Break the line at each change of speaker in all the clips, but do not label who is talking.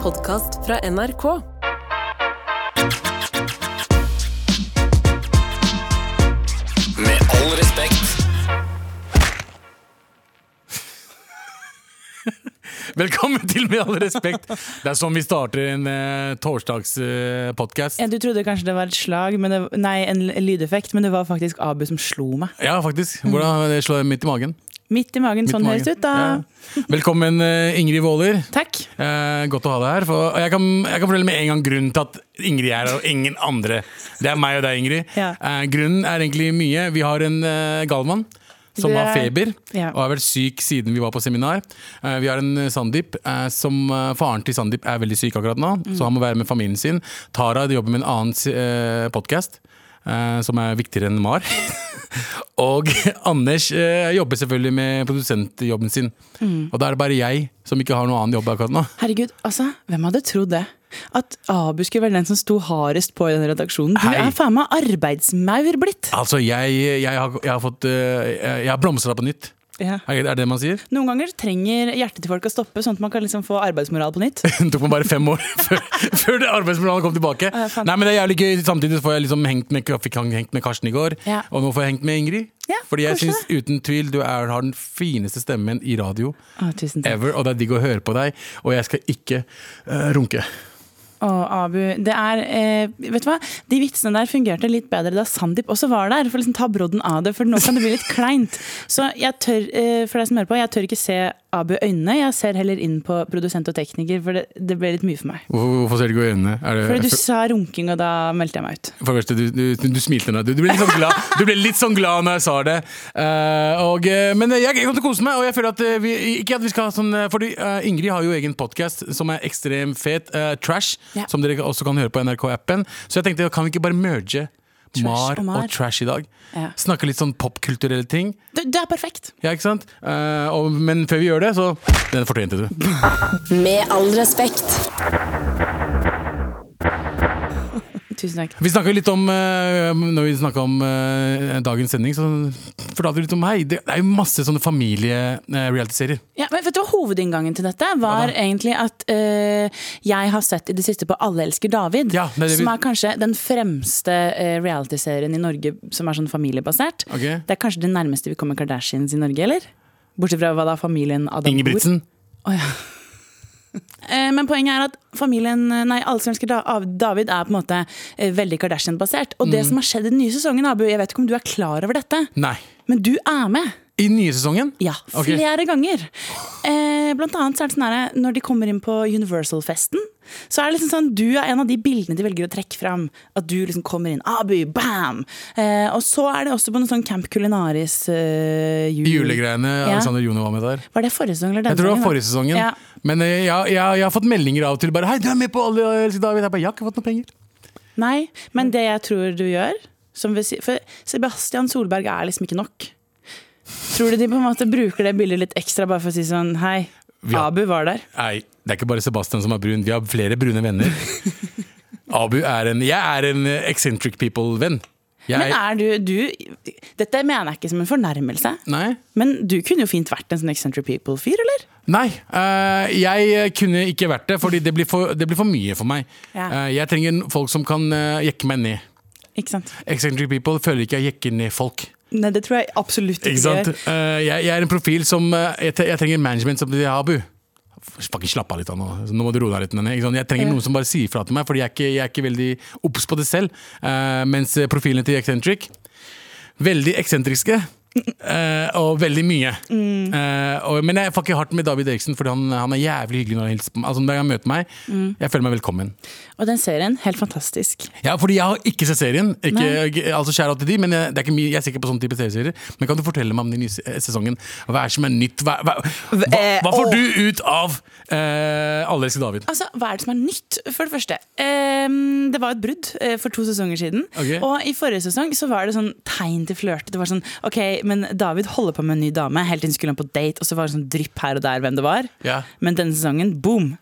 podkast fra NRK.
Med all respekt.
Velkommen til Med all respekt. Det er sånn vi starter en eh, uh, torsdagspodkast.
Ja, du trodde kanskje det var et slag, men det, nei, en l- lydeffekt, men det var faktisk Abu som slo meg.
ja, faktisk. Hvordan det slår midt i magen.
Midt i magen,
Midt i
sånn
magen.
høres det ut da.
Ja. Velkommen, eh, Ingrid Waaler.
Takk.
Eh, godt å ha deg her. For jeg, kan, jeg kan fortelle med en gang grunnen til at Ingrid er her, og ingen andre. Det er meg og deg, Ingrid.
Ja.
Eh, grunnen er egentlig mye. Vi har en eh, galmann som
Det
har
er-
feber,
Ja.
og har vært syk siden vi var på seminar. Eh, vi har en eh, Sandeep eh, som eh, Faren til Sandeep er veldig syk akkurat nå, så han må være med familien sin. Tara de jobber med en annen uh, podkast. eh, som er viktigere enn Mar. og Anders eh, jobber selvfølgelig med produsentjobben sin. Og da er det bare jeg som ikke har noen annen jobb akkurat nå.
Herregud, altså, hvem hadde trodd det? At Abu skulle være den som sto hardest på i den redaksjonen. Du
Hei.
er faen meg arbeidsmaur blitt.
Altså, jeg, jeg, har, jeg har fått eh, Jeg har blomstra på nytt. Er det er det man sier?
Noen ganger trenger hjertet til folk å stoppe, sånn at man kan liksom få arbeidsmoral på nytt.
Det tok meg bare fem år før, før det arbeidsmoralen kom tilbake.
Ja, faen.
Nei, men det er jævlig gøy Samtidig får jeg liksom hengt med, fikk han hengt med Karsten i går,
Ja.
og nå får jeg hengt med Ingrid.
Ja,
Fordi jeg
koselig.
syns uten tvil du er, har den fineste stemmen i radio
Å, tusen takk.
ever, og det er digg å høre på deg. Og jeg skal ikke eh, runke.
Å, Abu, det er eh, Vet du hva? De vitsene der fungerte litt bedre da Sandeep også var der. For liksom ta brodden av det, for nå kan det bli litt kleint. Så jeg tør, eh, for deg som hører på, jeg tør ikke se Abu i øynene. Jeg ser heller inn på produsent og tekniker, for det, det ble litt mye for meg.
Hvorfor, hvorfor ser du ikke i øynene? Er det,
Fordi du sa runking, og da meldte jeg meg ut.
For det første, du, du, du smilte nå. Du, du, ble litt sånn glad. du ble litt sånn glad når jeg sa det. Eh, og, eh, men jeg, jeg kommer til å kose meg. Og jeg føler at eh, vi, ikke at vi skal ha sånn eh, Fordi eh, Ingrid har jo egen podkast som er ekstremt fet. eh, trash.
Ja.
Som dere også kan høre på NRK-appen. Så jeg tenkte, kan vi ikke bare merge
Trash
Mar
og Mar.
og Trash i dag?
Ja.
Snakke litt sånn popkulturelle ting.
Du, du er perfekt!
Ja, ikke sant? Eh, og, men før vi gjør det, så Den fortjente du.
Med all respekt.
Tusen takk.
Vi snakket jo litt om eh, Når vi snakket om eh, dagens sending, så fortalte du litt om Hei, det er jo masse sånne eh, familie-realityserier.
Ja, men vet du hva Hovedinngangen til dette var egentlig at eh, jeg har sett i det siste på Alle elsker David.
Ja, det er det vi-
Som er kanskje den fremste eh, realityserien i Norge som er sånn familiebasert.
Ok.
Det er kanskje det nærmeste vi kommer Kardashians i Norge, eller? Bortsett fra hva da familien Adam
Ingebrigtsen.
Eh, Men poenget er at familien, eh, nei, alle som elsker Da- av- David er på en måte eh, veldig Kardashian-basert. Og det som har skjedd i den nye sesongen, Abu, jeg vet ikke om du er klar over dette,
Nei.
men du er med.
I nye sesongen?
Ja,
Ok.
flere ganger. Eh, blant annet så er det sånn her, når de kommer inn på Universal-festen, så er det liksom sånn, du er en av de bildene de velger å trekke fram. At du liksom kommer inn, Abu, bam! Eh, og så er det også på noen sånn Camp Culinaris eh, jul.
Julegreiene.
Ja.
Alexander Jone var med der.
Var det forrige sesong eller denne
Jeg tror det var
sesongen, da?
forrige sesongen.
Ja.
Men eh, jeg, jeg, jeg har fått meldinger av og til bare Hei, du er med på alle eh, David. Jeg bare, jeg har ikke fått noen penger.
Nei, men det jeg tror du gjør som vi, sier- For Sebastian Solberg er liksom ikke nok. Tror du de på en måte bruker det bildet litt ekstra bare for å si sånn Hei,
Ja.
Abu var der.
Nei, det er ikke bare Sebastian som er brun. Vi har flere brune venner. Abu er en Jeg er en eh, eccentric people-venn. Jeg-
Men er du, du Dette mener jeg ikke som en fornærmelse,
Nei?
men du kunne jo fint vært en sånn Eccentric People-fyr, eller?
Nei, eh, jeg kunne ikke vært det, fordi det blir for, det blir for mye for meg.
Ja.
Eh, jeg trenger folk som kan eh, jekke meg ned.
Ikke sant?
Eccentric people føler ikke jeg jekker ned folk.
Nei, det tror jeg absolutt ikke.
Ikke sant? Eh, jeg, jeg er en profil som eh, jeg, tre- jeg trenger management som sier Abu. Fucking slapp av litt da nå. Nå må du roe deg litt. Nanne», Ikke sant? Jeg trenger
Ja.
noen som bare sier fra til meg, Fordi jeg er ikke, jeg er ikke veldig obs på det selv. Eh, mens eh, profilene til Eccentric Veldig eksentriske. eh, og veldig mye.
Mm.
Eh, og, men jeg fucker hardt med David Eriksen, Fordi han, han er jævlig hyggelig når han hilser på meg. Altså Når han møter meg,
Mm.
jeg føler meg velkommen.
Og den serien, helt fantastisk.
Ja, fordi jeg har ikke sett serien. Ikke,
Nei.
ikke- altså skjær av til de, men jeg, det er ikke mye, jeg er sikker på sånne type serier. Men kan du fortelle meg om den nye se- sesongen? Hva er det som er nytt? Hva, hva, hva,
eh,
hva får
åh.
du ut av eh, Alle elsker David?
Altså, Hva er det som er nytt? For det første, ehm, det var et brudd eh, for to sesonger siden.
Ok.
Og i forrige sesong så var det sånn tegn til flørt. Det var sånn OK, men David holder på med en ny dame. Helt til hun skulle på date, og så var det sånn drypp her og der hvem det var.
Ja.
Men denne sesongen, boom!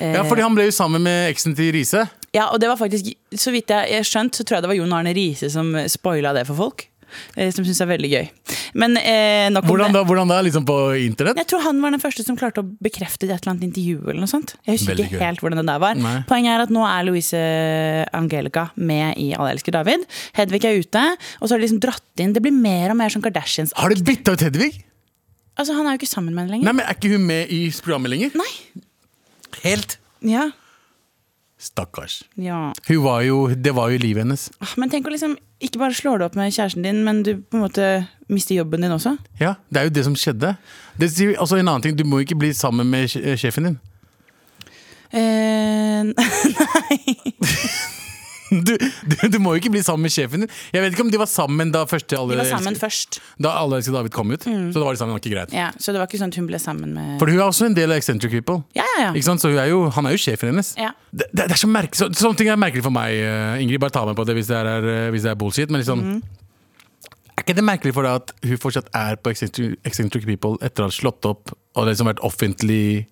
Eh.
ja, fordi han ble jo sammen med eksen til Riise.
Ja, og det var faktisk, så vidt jeg, jeg skjønt, så tror jeg det var Jon Arne Riise som spoila det for folk. eh, som syns er veldig gøy. Men eh, nok om
Hvordan
det.
da? Hvordan da? Liksom på internett?
Jeg tror han var den første som klarte å bekrefte det i et eller annet intervju. eller noe sånt. Jeg husker
Veldig
ikke
gøy.
helt hvordan det der var.
Nei.
Poenget er at nå er Louise Angelica med i Alle elsker David. Hedvig er ute, og så har de liksom dratt inn Det blir mer og mer sånn Kardashians.
Har de bytta ut Hedvig?
Altså, Han er jo ikke sammen med henne
Nei,
lenger.
men Er ikke hun med i programmet lenger?
Nei.
Helt.
Ja.
Stakkars.
ja.
Hun var jo, det var jo livet hennes.
Ah, Men tenk å liksom Ikke bare slår du opp med kjæresten din, men du på en måte mister jobben din også.
Ja, Det er jo det som skjedde. Det sier, altså en annen ting, Du må ikke bli sammen med sj- eh, sjefen din.
Eh,
Du, du, du må jo ikke bli sammen med sjefen din. Jeg vet ikke om de var sammen da første alle
de var sammen
elsker,
først,
Da alle elsker David kom ut. Så da var de sammen. Det var ikke greit.
ja, så det var ikke sånn at hun ble sammen med
For hun er også en del av Eccentric People.
Ja, ja, ja.
Ikke sant? Så hun er jo, han er jo sjefen hennes.
Ja.
Det, det, det er så merkelig så, Sånne ting er merkelig for meg, eh, Ingrid. Bare ta meg på det hvis det er, eh, hvis det er bullshit. Men liksom
Mm.
Er ikke det merkelig for deg at hun fortsatt er på Eccentric, Eccentric People etter å ha slått opp og liksom vært offentlig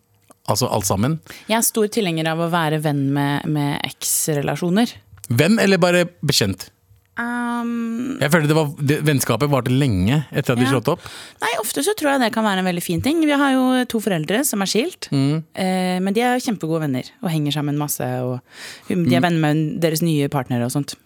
Altså alt sammen?
Jeg er stor tilhenger av å være venn med, med eks-relasjoner.
Venn eller bare bekjent?
Um,
Jeg føler det var, det, Vennskapet varte lenge etter at de
Ja.
slått opp.
nei, ofte så tror jeg det kan være en veldig fin ting. Vi har jo to foreldre som er skilt,
Mm.
eh, men de er kjempegode venner og henger sammen masse. Og hun- de er venner med deres nye partnere og sånt.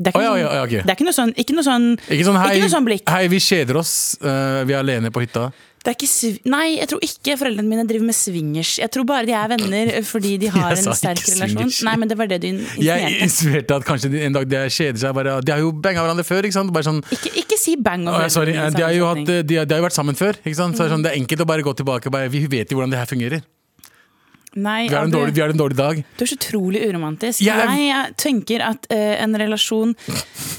Det er
Mm. Å,
ikke,
ja,
noe-
ja, ja, ok.
det er ikke noe sånn, ikke noe sånn,
Ikke sånn hei,
noe sånn blikk.
hei vi kjeder oss, eh, vi er alene på hytta.
Det er ikke sv nei, jeg tror ikke foreldrene mine driver med swingers. Jeg tror bare de er venner fordi de har
Jeg sa
en sterk
ikke
relasjon.
swingers.
Nei, men det var det du in-
Jeg
insinuerte.
insinuerte at kanskje de- en dag de kjeder seg. Bare, de har jo banga hverandre før. ikke sant? Bare sånn,
Ikke, ikke si sånn bang om
«Å,
foreldrene
sorry, eh,
dine i
de har, jo
samme
hatt,
setning.
de, har- de har jo vært sammen før. ikke sant? Så
Mm.
det er sånn, det er enkelt å bare gå tilbake. og Bare, vi vet jo hvordan det her fungerer.
Nei,
Vi har en
Abu.
dårlig, vi har en dårlig dag.
Du er så utrolig uromantisk.
Jeg er-
Jeg, jeg tenker at eh, en relasjon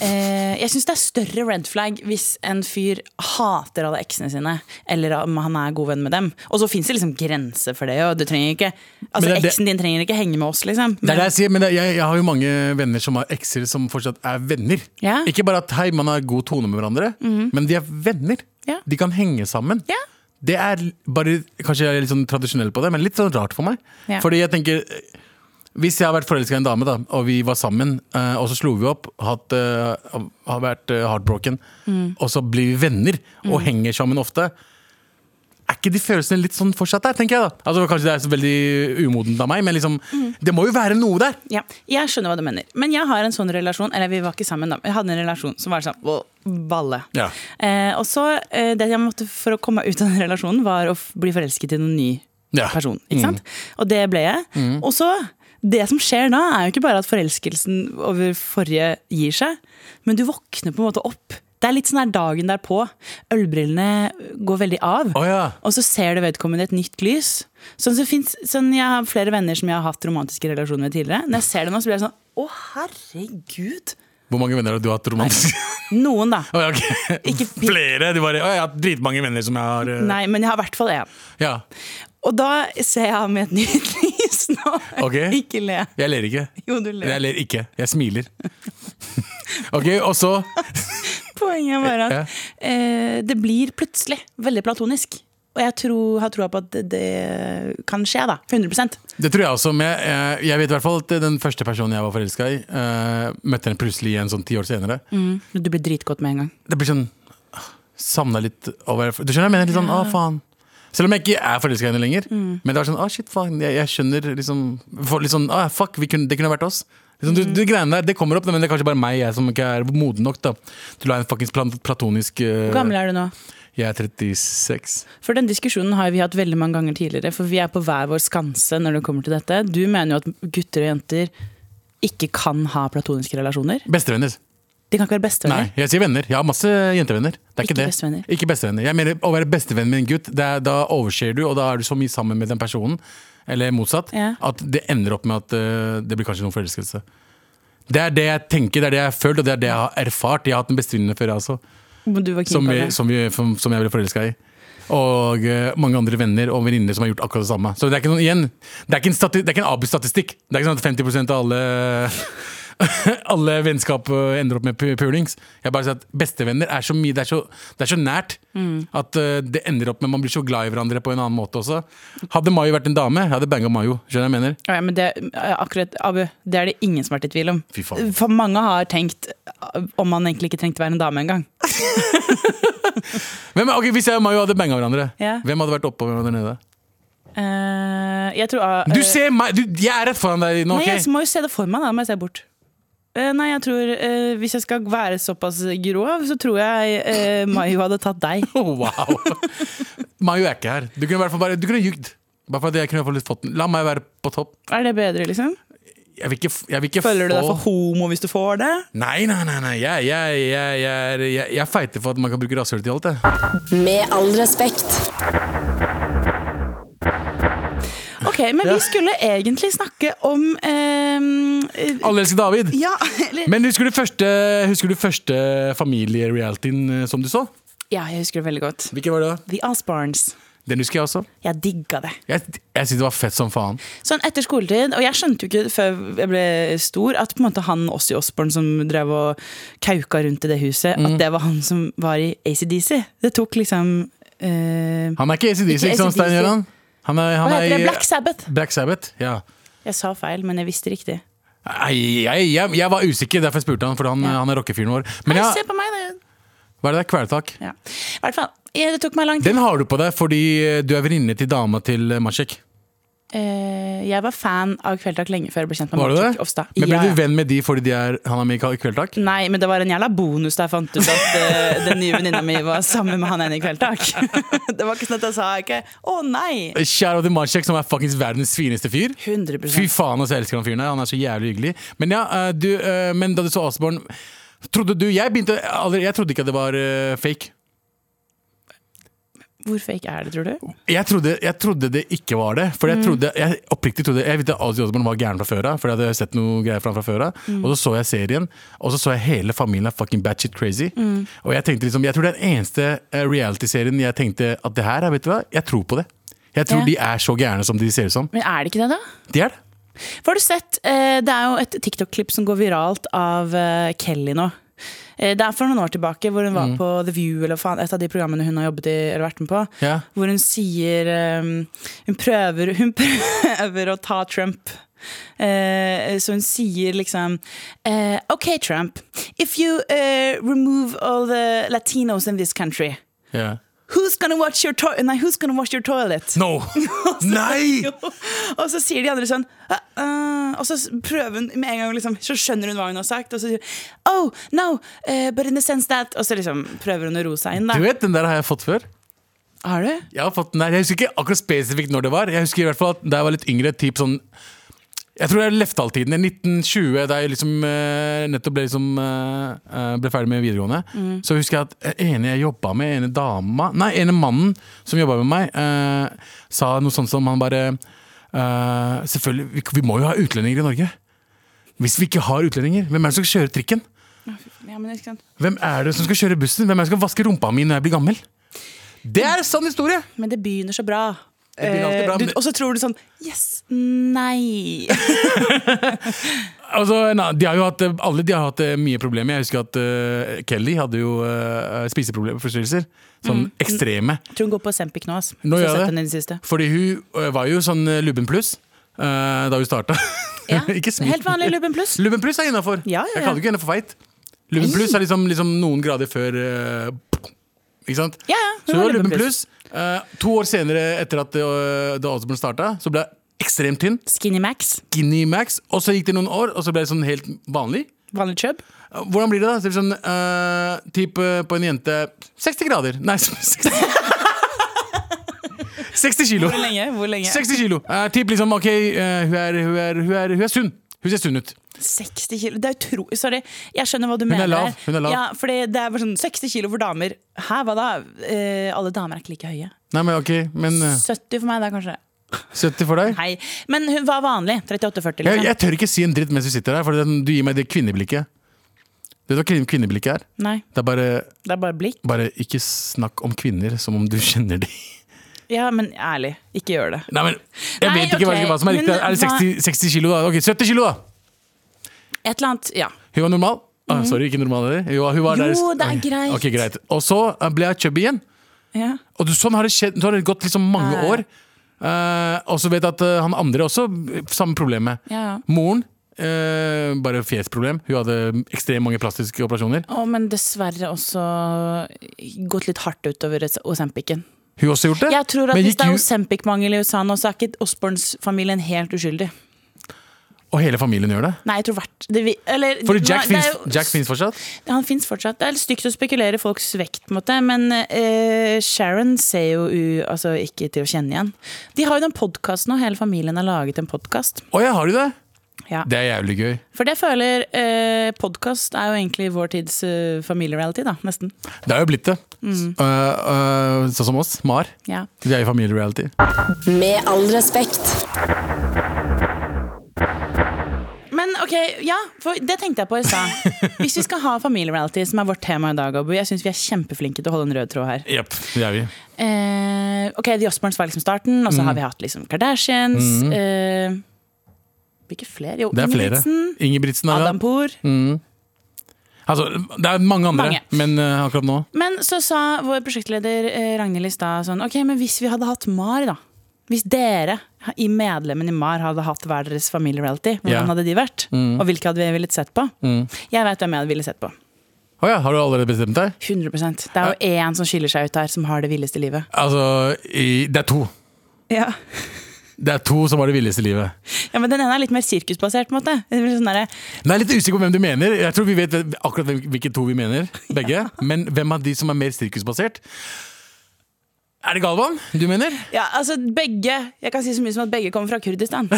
eh, Jeg syns det er større red flag hvis en fyr hater alle eksene sine, eller om han er god venn med dem. Og så fins det liksom grenser for det. Og du trenger ikke, altså,
Men det- det-
eksen din trenger ikke henge med oss, liksom.
Det er det jeg sier, men det, jeg, jeg har jo mange venner som har ekser som fortsatt er venner.
Ja. Mhm.
Ikke bare at hei, man har god tone med hverandre, men de er venner.
Ja.
De kan henge sammen.
Ja.
Det er bare, Kanskje jeg er litt sånn tradisjonell på det, men litt sånn rart for meg.
Ja.
Fordi jeg tenker eh, Hvis jeg har vært forelska i en dame, da, og vi var sammen, eh, og så slo vi opp, hatt, eh, har vært eh, heartbroken,
Mm.
og så blir vi venner og henger sammen ofte er ikke de følelsene litt sånn fortsatt der, tenker jeg da? Altså, kanskje det er så veldig umodent av meg, men liksom,
Mm.
det må jo være noe der.
Ja, jeg skjønner hva du mener. Men jeg har en sånn relasjon, eller vi var ikke sammen da, men jeg hadde en relasjon som var sånn «Åh, balle.
Ja.
Eh, og så eh, det jeg måtte for å komme meg ut av den relasjonen, var å f bli forelsket i noen ny
Ja. Mm.
person. Ikke sant? Og det ble jeg. Og så det som skjer da, er jo ikke bare at forelskelsen over forrige gir seg, men du våkner på en måte opp. Det er litt sånn her dagen derpå. Ølbrillene går veldig av.
Å ja.
Og så ser du vedkommende i et nytt lys. Sånn, så finnes, sånn Jeg har flere venner som jeg har hatt romantiske relasjoner med tidligere. Når jeg ser dem nå, så blir jeg sånn Å, herregud!
Hvor mange venner har du hatt romantisk?
Noen, da.
Å ja, ok.
Ikke pi-
Flere? Du bare, å, jeg har hatt dritmange venner som jeg har eh,
Nei, men jeg har i hvert fall én.
Ja.
Og da ser jeg ham i et nytt lys nå.
Ok.
Ikke le.
Jeg ler ikke.
Jo, du ler.
Jeg ler ikke. Jeg smiler. ok, og så
Poenget var at
Ja.
eh, det blir plutselig veldig platonisk. Og jeg tror, har troa på at det, det kan skje, da. 100
Det tror jeg også. Men jeg, eh, jeg vet i hvert fall at den første personen jeg var forelska i, eh, møtte henne plutselig igjen sånn ti år senere.
Mm. Du blir dritgodt med en gang.
Det blir sånn Savna litt over Du skjønner, jeg mener litt sånn, å faen Selv om jeg ikke er forelska i henne lenger
Mm.
Men det var sånn, å shit, faen, jeg, jeg skjønner liksom for, Litt sånn, å fuck, vi kunne, det kunne vært oss liksom,
Mm.
du, du greiene der, det kommer opp Men det er kanskje bare meg, jeg som ikke er moden nok da Til å ha en fucking plan- platonisk eh,
Hvor gammel er du nå?
Jeg er 36
For den diskusjonen har vi hatt veldig mange ganger tidligere, for vi er på hver vår skanse når det kommer til dette. Du mener jo at gutter og jenter ikke kan ha platoniske relasjoner.
Bestevenner
De kan ikke være
Nei,
bestevenner.
jeg sier venner. Jeg har masse jentevenner. Det er ikke,
Ikke
det.
bestevenner.
Ikke bestevenner. Jeg mener å være bestevenn med en gutt, det er, da overser du, og da er du så mye sammen med den personen, eller motsatt,
Ja.
at det ender opp med at eh, det blir kanskje noen forelskelse. Det er det jeg tenker, det er det jeg har følt, og det er det jeg har erfart. Jeg har hatt en bestevenninne før, jeg også,
Men Du var keen
som,
på
vi,
det.
som, vi, som, som jeg ble forelska i. Og eh, mange andre venner og venninner som har gjort akkurat det samme. Så det er ikke noen, igjen, det er ikke en, stati, det er ikke en Abu-statistikk. Det er ikke sånn at 50 av alle alle vennskap eh, ender opp med pu- pulings. Jeg bare sier at bestevenner er så mye Det er så, det er så nært
Mm.
at eh, det ender opp med Man blir så glad i hverandre på en annen måte også. Hadde Mayo vært en dame, jeg hadde banga Mayo. Skjønner du hva jeg mener?
Ja, ja, men det, ja, akkurat, Abu, det er det ingen som har vært i tvil om.
Fy faen.
For mange har tenkt uh, om man egentlig ikke trengte være en dame engang.
Hvem, ok, Hvis jeg og Mayo hadde banga hverandre,
Ja.
hvem hadde vært oppe og hvem hadde vært nede?
Uh, jeg tror uh,
Du ser meg! Du, jeg er rett foran deg nå,
Nei,
OK?
jeg må jo se det for meg, da må jeg se bort. Eh, nei, jeg tror eh, hvis jeg skal være såpass grov, så tror jeg eh, Mayo hadde tatt deg.
Oh, wow! Mayo er ikke her. Du kunne i hvert fall bare Du kunne jugd. Bare for at jeg kunne i hvert fall fått den. La meg være på topp.
Er det bedre, liksom?
Jeg vil ikke, f- jeg vil ikke
Føler du
få
deg for homo hvis du får det?
Nei, nei, nei. nei. Jeg, jeg, jeg, jeg, er- jeg, jeg feiter for at man kan bruke rasshøl til alt. Jeg.
Med all respekt.
Ok, men vi skulle egentlig snakke om eh, eh,
Alle elsker David.
Ja, eller
Men husker du første, husker du første familierealityen eh, som du så?
Ja, jeg husker det veldig godt.
Hvilken var det da?
The Osbournes.
Den husker jeg også.
Jeg digga det.
Jeg, jeg synes det var fett som faen.
Sånn etter skoletid, og jeg skjønte jo ikke før jeg ble stor, at på en måte han Ossi Osborn som drev og kauka rundt i det huset,
Mm.
at det var han som var i ACDC. Det tok liksom eh,
Han er ikke ACDC,
Ikke
ikke sant, Stein
AC/DC.
Gjøran? Han er, han
Hva heter
er
det?
i-
Black Sabbath?
Black Sabbath. Ja.
Jeg sa feil, men jeg visste riktig.
Nei, jeg, jeg, jeg var usikker, derfor jeg spurte han, for han,
Ja.
han er rockefyren vår. Men
Nei,
ja,
se på meg, da!
hva er det der? Kvelertak?
Ja. I hvert fall, eh, det tok meg lang tid.
Den har du på deg fordi eh, du er venninne til dama til eh, Maciek.
Eh, jeg var fan av Kveldtak lenge før jeg ble kjent med
Var du det?
Martin Ofstad.
Men ble
Ja, ja.
du venn med de fordi de er, han er med i Kal- Kvelertak?
Nei, men det var en jævla bonus da jeg fant ut at eh, den nye venninna mi var sammen med han ene i Kveldtak. det var ikke sånn at jeg sa ikke 'å nei'.
Kjære til Maciek, som er fuckings verdens fineste fyr.
100
Fy faen, altså, jeg elsker han fyren her. Han er så jævlig hyggelig. Men ja, eh, du, eh, men da du så Osborn Trodde du Jeg begynte aldri, Jeg trodde ikke at det var eh, fake.
Hvor fake er det, tror du?
Jeg trodde, jeg trodde det ikke var det. For jeg trodde, jeg oppriktig trodde Jeg visste at Ozzy Osbourne var gæren fra før av. For jeg hadde sett noe greier fra han fra før av. Og så så jeg serien, og så så jeg hele familien er fucking batshit crazy. Og jeg tenkte liksom, jeg tror det er den eneste eh, reality-serien jeg tenkte at det her er, vet du hva, jeg tror på det. Jeg tror
Ja.
de er så gærne som de ser ut som.
Men er det ikke det, da?
De er det.
For har du sett, eh, Det er jo et TikTok-klipp som går viralt av eh, Kelly nå. Eh, Det er for noen år tilbake hvor hun var på The View eller faen, et av de programmene hun har jobbet i, eller vært med på.
Ja.
Hvor hun sier eh, hun, prøver, hun prøver å ta Trump. Eh, så hun sier liksom eh, OK, Trump. If you eh, remove all the Latinos in this country,
Ja.
who's gonna watch your, to nei, who's gonna wash your toilet?
No! Nei!
Og så sier de andre sånn «Ah, ah», Og så prøver hun med en gang liksom, Så skjønner hun hva hun har sagt Og så sier hun Oh, no, eh, but in the sense that Og så liksom prøver hun å roe seg inn da
Du vet, den der har jeg fått før.
Har du?
Jeg har fått den der, jeg husker ikke akkurat spesifikt når det var. Jeg husker i hvert fall at da jeg var litt yngre, typ sånn Jeg tror det er Lefdal-tiden. 1920, da jeg liksom eh, nettopp ble, liksom, eh, eh, ble ferdig med videregående. Så husker jeg at eh, ene jeg jobba med, ene dama Nei, ene mannen som jobba med meg, eh, sa noe sånt som han bare eh, Selvfølgelig, vi, vi må jo ha utlendinger i Norge. Hvis vi ikke har utlendinger, hvem er det som skal kjøre trikken?
Ja, men ikke sant
Hvem er det som skal kjøre bussen? Hvem er det som skal vaske rumpa mi når jeg blir gammel? Det er en sann historie!
Men det begynner så bra
Det begynner alltid bra,
Eh, du,
men-
og så tror du sånn Yes, nei
Altså, nei, de har jo hatt, alle de har hatt eh, mye problemer. Jeg husker at eh, Kelly hadde jo eh, spiseproblemer, forstyrrelser.
Mm.
Sånn ekstreme.
Jeg tror hun går på Sempik nå ass.
Nå
Så
gjør jeg
sett
det.
henne i det siste
Fordi hun eh, var jo sånn eh, lubben pluss eh, da hun starta.
ja.
Ikke smil.
Helt vanlig Lubben Pluss
Lubben pluss er innafor.
Ja, ja, ja.
Jeg kaller ikke henne for feit. Lubben
Nei.
pluss er liksom, liksom noen grader før eh, Ikke sant?
Ja, ja,
Så hun var lubben pluss. Eh, to år senere, etter at uh, The Osborne starta, så ble hun ekstremt tynn.
Skinny Max
Skinny Max. Og så gikk det noen år, og så ble det sånn helt vanlig.
Vanlig chub
Hvordan blir det da? Så det blir sånn, eh, typ eh, på en jente 60 grader. Nei, 60, 60 kilo.
Hvor lenge? Hvor lenge?
60 kilo. Eh, typ liksom, ok, eh, hun, er, hun, er, hun, er, hun er sunn. Hun ser sunn ut.
60 kilo Det er utrolig Sorry, jeg skjønner hva du
er
mener.
lav, hun er lav.
Ja, fordi det er bare sånn 60 kilo for damer. Hæ, hva da? Eh, alle damer er ikke like høye.
Nei, men ok, men eh,
70 for meg da, kanskje.
70 for deg?
Nei. Men hun var vanlig. 38-40,
Jeg,
liksom.
jeg tør ikke si en dritt mens du sitter her, for den- du gir meg det kvinneblikket. Vet du hva kvinne- kvinneblikket er?
Nei,
Det er bare,
det er bare blikk.
bare ikke snakk om kvinner som om du kjenner dem.
Ja, men ærlig, ikke gjør det.
Nei, men jeg
Nei,
vet ikke hva-
ok,
hva som er riktig.
men
Er det
hva-
60, 60 kilo da? Ok, 70 kilo da!
Et eller annet, ja.
Hun var normal. Ah, sorry, ikke normal heller. Jo, hun var
Mhm. Jo,
deres-
det er
Ok.
greit.
Ok, greit. Og så eh, ble jeg chubby igjen.
ja.
Og du, sånn har det skjedd, så har det gått liksom mange
Ja, ja.
år. Eh, og så vet jeg at eh, han andre også eh, samme problemet.
Ja, ja.
Moren, eh, bare fjesproblem. Hun hadde ekstremt mange plastiske operasjoner.
Å, men dessverre også gått litt hardt utover Osempiken.
Hun også gjort det.
Jeg tror at
Men
hvis
gikk
det er
hun-
Osempic-mangel i USA nå, så er ikke Osborns-familien helt uskyldig.
Og hele familien gjør det.
Nei, jeg tror hvert det, vi- eller,
For
nå-
Jack,
det er
finnes,
jo-
Jack finnes fortsatt.
Han fins fortsatt. Det er litt stygt å spekulere i folks vekt, på en måte, men eh, Sharon ser jo u, altså, ikke til å kjenne igjen. De har jo den podkasten, og hele familien har laget en podkast.
Å ja, har du det?
Ja.
Det er jævlig gøy.
For det jeg føler uh, Podkast er jo egentlig vår tids eh, familiereality, da. Nesten.
Det er jo blitt det.
Mm.
Eh, eh, sånn som oss. Mar.
Ja.
Vi er i familiereality.
Med all respekt.
Men ok, ja, for det tenkte jeg på i stad. Hvis vi skal ha familiereality, som er vårt tema i dag, Abu, jeg syns vi er kjempeflinke til å holde en rød tråd her.
Jepp, det er vi.
Eh, ok, The Osbournes var liksom starten, og så
Mm.
har vi hatt liksom Kardashians. eh, hvilke flere? Jo,
Det er flere. Mm.
Ingebrigtsen.
Ingebrigtsen er
Adam Poor.
Altså, det er mange andre,
Mange.
men eh, akkurat nå
Men så sa vår prosjektleder eh, Ragnhild i stad sånn Ok, men hvis vi hadde hatt MAR, da. Hvis dere i medlemmen i MAR hadde hatt hver deres familiereality, hvordan
Ja. Mm.
hadde de vært? Og hvilke hadde vi villet sett på? Jeg vet hvem jeg hadde villet sett på.
Å ja, har du allerede bestemt deg?
100 Det er jo én som skiller seg ut her, som har det villeste livet.
Altså, i, det er to.
Ja.
Det er to som har det villeste livet.
men Den ene er litt mer sirkusbasert. på en måte Det blir sånn derre-
Men jeg er litt usikker på hvem du mener. Jeg tror vi vet akkurat hvem- hvilke to vi mener, begge. Men hvem av de som er mer sirkusbasert? Er det Galvan du mener?
Ja, altså begge Jeg kan si så mye som at begge kommer fra Kurdistan.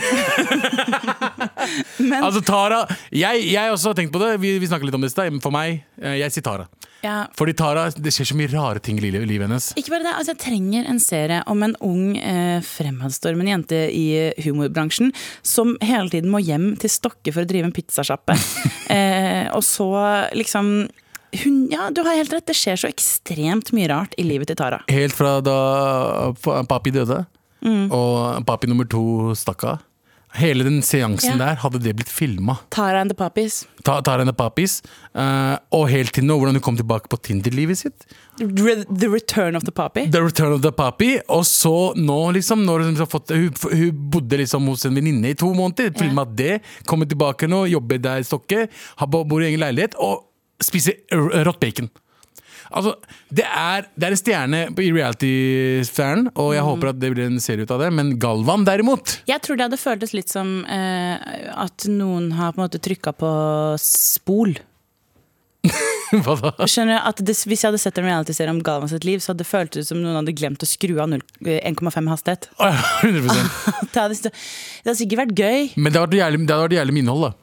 Men
Altså Tara Jeg, jeg også har tenkt på det. Vi, vi snakket litt om det i sted. Men For meg, eh, jeg sier Tara.
ja,
Fordi Tara, det skjer så mye rare ting i livet, livet hennes.
Ikke bare det, altså Jeg trenger en serie om en ung, eh, fremadstormende jente i eh, humorbransjen som hele tiden må hjem til Stokke for å drive en pizzasjappe. eh, og så liksom hun, Ja, du har helt rett. Det skjer så ekstremt mye rart i livet til Tara.
Helt fra da fa- papi døde, og papi nummer to stakk av. Hele den seansen
Ja.
der, hadde det blitt filma.
Tara and the Pappies.
Ta- Tara and the Papis. eh, og helt til nå, hvordan hun kom tilbake på Tinder-livet sitt.
Re the Return of the Pappy.
The Return of the Papi. Og så nå, liksom, når hun, har fått, hun, hun bodde liksom hos en venninne i to måneder. Filma det. Kommer tilbake nå, jobber der i Stokke. har- Bor i egen leilighet. Og spiser r- rått bacon. Altså, det er, det er en stjerne på- i reality-sfæren, og jeg håper at det blir en serie ut av det. Men Galvan, derimot
Jeg tror det hadde føltes litt som eh, at noen har på en måte trykka på spol.
Hva da?
Skjønner du at det, Hvis jeg hadde sett en realityserie om Galvan sitt liv, så hadde det føltes ut som noen hadde glemt å skru av null- eh, 1,5 hastighet.
Å, ja, 100
Det hadde, det hadde sikkert vært gøy.
Men det hadde vært jævlig- det hadde vært jævlig med innhold, da.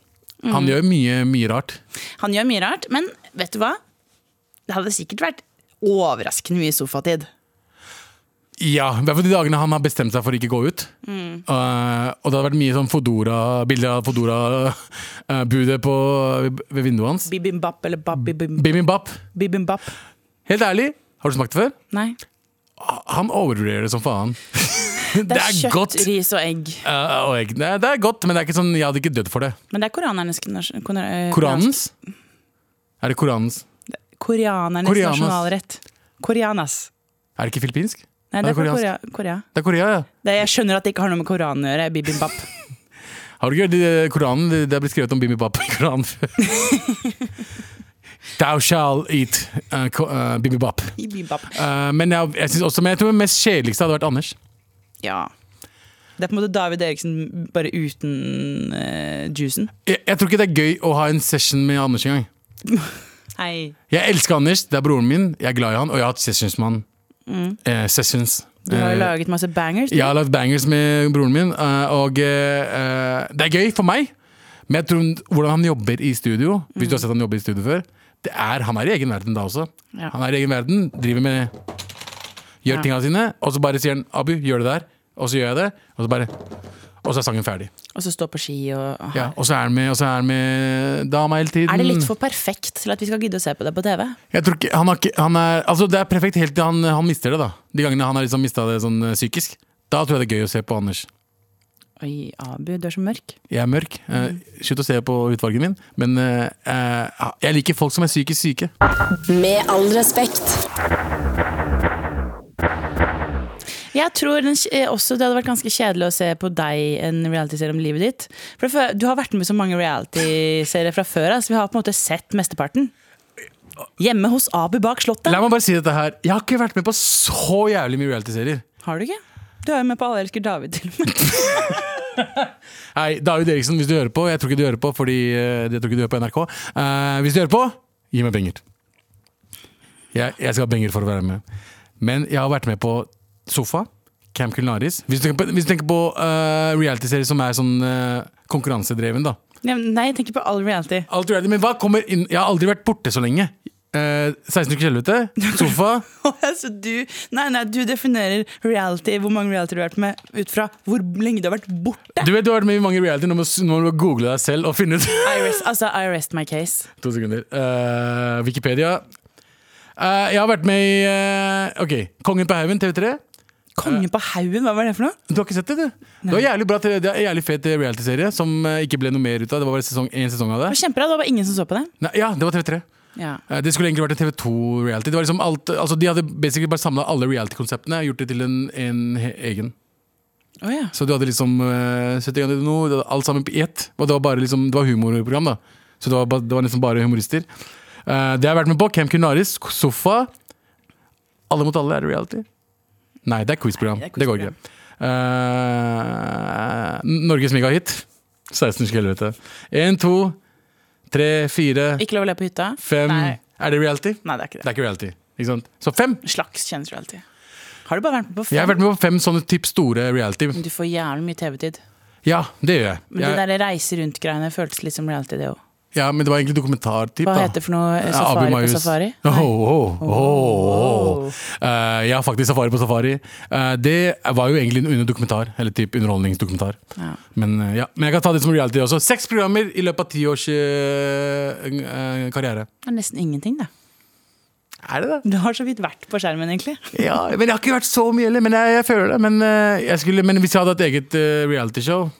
Han gjør mye, mye rart.
Han gjør mye rart, men vet du hva? Det hadde sikkert vært overraskende mye sofatid.
Ja, i hvert fall de dagene han har bestemt seg for å ikke gå ut. Eh, og det har vært mye sånn Fodora, bilder av Fodora-budet ved vinduet hans.
Bibimbap eller babibimbap.
Bibimbap, helt ærlig, har du smakt det før?
Nei.
Han overvurderer det som faen. det,
Det
er
er, kjøtt,
godt,
ris og egg.
Eh, og egg. Nei, det er godt, men det er ikke sånn, jeg hadde ikke dødd for det.
Men det er koranernes koran- koran-
Koranens? Er det koranens?
Koreanernes
Koreanas.
nasjonalrett. Koreanas.
Er det ikke filippinsk?
Nei, det er fra
koreansk.
Korea. Korea.
Det er Korea, ja.
Det, jeg skjønner at det ikke har noe med Koranen å gjøre. Bibimbap.
Har du ikke hørt det- eh, Koranen? Det det er blitt skrevet om bibimbap i Koranen før. Thou shall eat eh, ko- eh, bibimbap.
Bibimbap.
Eh, men jeg, jeg synes også, men jeg tror det mest kjedeligste hadde vært Anders.
Ja. Det er på en måte David Eriksen bare uten eh, juicen.
Jeg, jeg tror ikke det er gøy å ha en session med Anders engang.
Hei.
Jeg elsker Anders, det er broren min, jeg er glad i han, og jeg har hatt sessions med han. Eh, sessions.
Mm. Du har jo
Eh,
laget masse bangers. du.
jeg har lagd bangers med broren min, eh, og eh, eh, det er gøy for meg. Men jeg tror hvordan han jobber i studio, hvis
Mm.
du har sett han jobbe i studio før, det er, han er i egen verden da også.
Ja.
Han er i egen verden, driver med Gjør
Ja.
tingene sine, og så bare sier han 'Abu, gjør det der', og så gjør jeg det, og så bare Og så er sangen ferdig.
Og så stå på ski og og
Ja, Mm.
ha-
og så er han med, og så er han med dama hele tiden.
Er det litt for perfekt til at vi skal gidde å se på det på TV?
Jeg tror ikke, han har ikke han er, Altså Det er perfekt helt til han, han mister det. da De gangene han har liksom mista det sånn eh, psykisk. Da tror jeg det er gøy å se på Anders.
Oi, Abu, du er så mørk.
Jeg er mørk. Eh, Slutt å se på hudfargen min. Men eh, eh, jeg liker folk som er psykisk syke.
Med all respekt.
Jeg tror den, eh, også det hadde vært ganske kjedelig å se på deg en realityserie om livet ditt. For det fø- Du har vært med i så mange realityserier fra før. Altså, vi har på en måte sett mesteparten. Hjemme hos Abu bak slottet.
La meg bare si dette her. Jeg har ikke vært med på så jævlig mye realityserier.
Har du ikke? Du er jo med på Alle elsker David, til og med.
Nei, David Eriksen, hvis du hører på. Jeg tror ikke du hører på, fordi eh, jeg tror ikke du hører på NRK. Eh, hvis du hører på, gi meg penger. Jeg, jeg skal ha penger for å være med. Men jeg har vært med på Sofa, Camp Culinaris. Hvis du tenker på, hvis du tenker på eh, realityserier som er sånn eh, konkurransedreven, da.
Ja, men Nei, jeg tenker på all reality.
Alt reality, men hva kommer inn? Jeg har aldri vært borte så lenge. Eh, 16 uker helvete, sofa.
Altså, du, nei, nei, du definerer reality, hvor mange reality du har vært med, ut fra hvor lenge du har vært borte.
Du vet du har vært med i mange reality, nå må s- nå må du google deg selv og finne ut.
I rest, altså, I rest my case.
to sekunder. Eh, Wikipedia. Eh, jeg har vært med i eh, Ok, Kongen på haugen, TV3.
Kongen på haugen, hva var det for noe?
Du har ikke sett det, du? Det var jævlig bra, TV det er en jævlig fet realityserie som eh, ikke ble noe mer ut av. Det var bare sesong, en sesong av
Det
det.
var kjempebra, det var bare ingen som så på det.
Nei, ja, det var TV3.
Ja.
Eh, Det skulle egentlig vært en TV2-reality. Det var liksom alt, altså De hadde basically bare samla alle reality-konseptene og gjort det til en, en he- egen.
Å ja.
Så du hadde liksom uh, sett i gang noe, det var alt sammen i ett. Og det var bare liksom, det var humorprogram, da. Så det var, ba- det var nesten bare humorister. Eh, det jeg har vært med på, Camp Kunaris, Sofa Alle mot alle, er det reality? Nei, det er quiz-program.
Nei, det er
det, går ikke. Eh, Norges megahit. 16 skal helvete. Én, to, tre, fire,
Ikke lov å le på hytta?
fem
Nei.
Er det reality?
Nei, det er ikke
Det
det.
er ikke reality. Ikke sant? Så fem!
Slags kjendisreality. Har du bare vært med på fem?
Jeg har vært med på fem sånne typ store reality.
Men Du får jævlig mye TV-tid.
Ja, det gjør jeg.
Men
jeg
det der reise rundt-greiene føltes litt som reality, det òg.
Ja, men det var egentlig dokumentartyp.
Hva
da.
heter det for
Ja,
noe?
Abu
Safari på
Majus.
safari?
Åh, åh, åh, åh. Eh, ja, faktisk safari på safari. Eh, det var jo egentlig en under dokumentar, eller typ underholdningsdokumentar.
Ja.
Men, eh, ja. men jeg kan ta det som reality også. Seks programmer i løpet av ti års eh, eh, karriere.
Det er nesten ingenting, det.
Er det det?
Du har så vidt vært på skjermen, egentlig.
Ja, men jeg har ikke vært så mye heller, men jeg, jeg føler det. Men, eh, jeg skulle, men hvis jeg hadde hatt eget eh, realityshow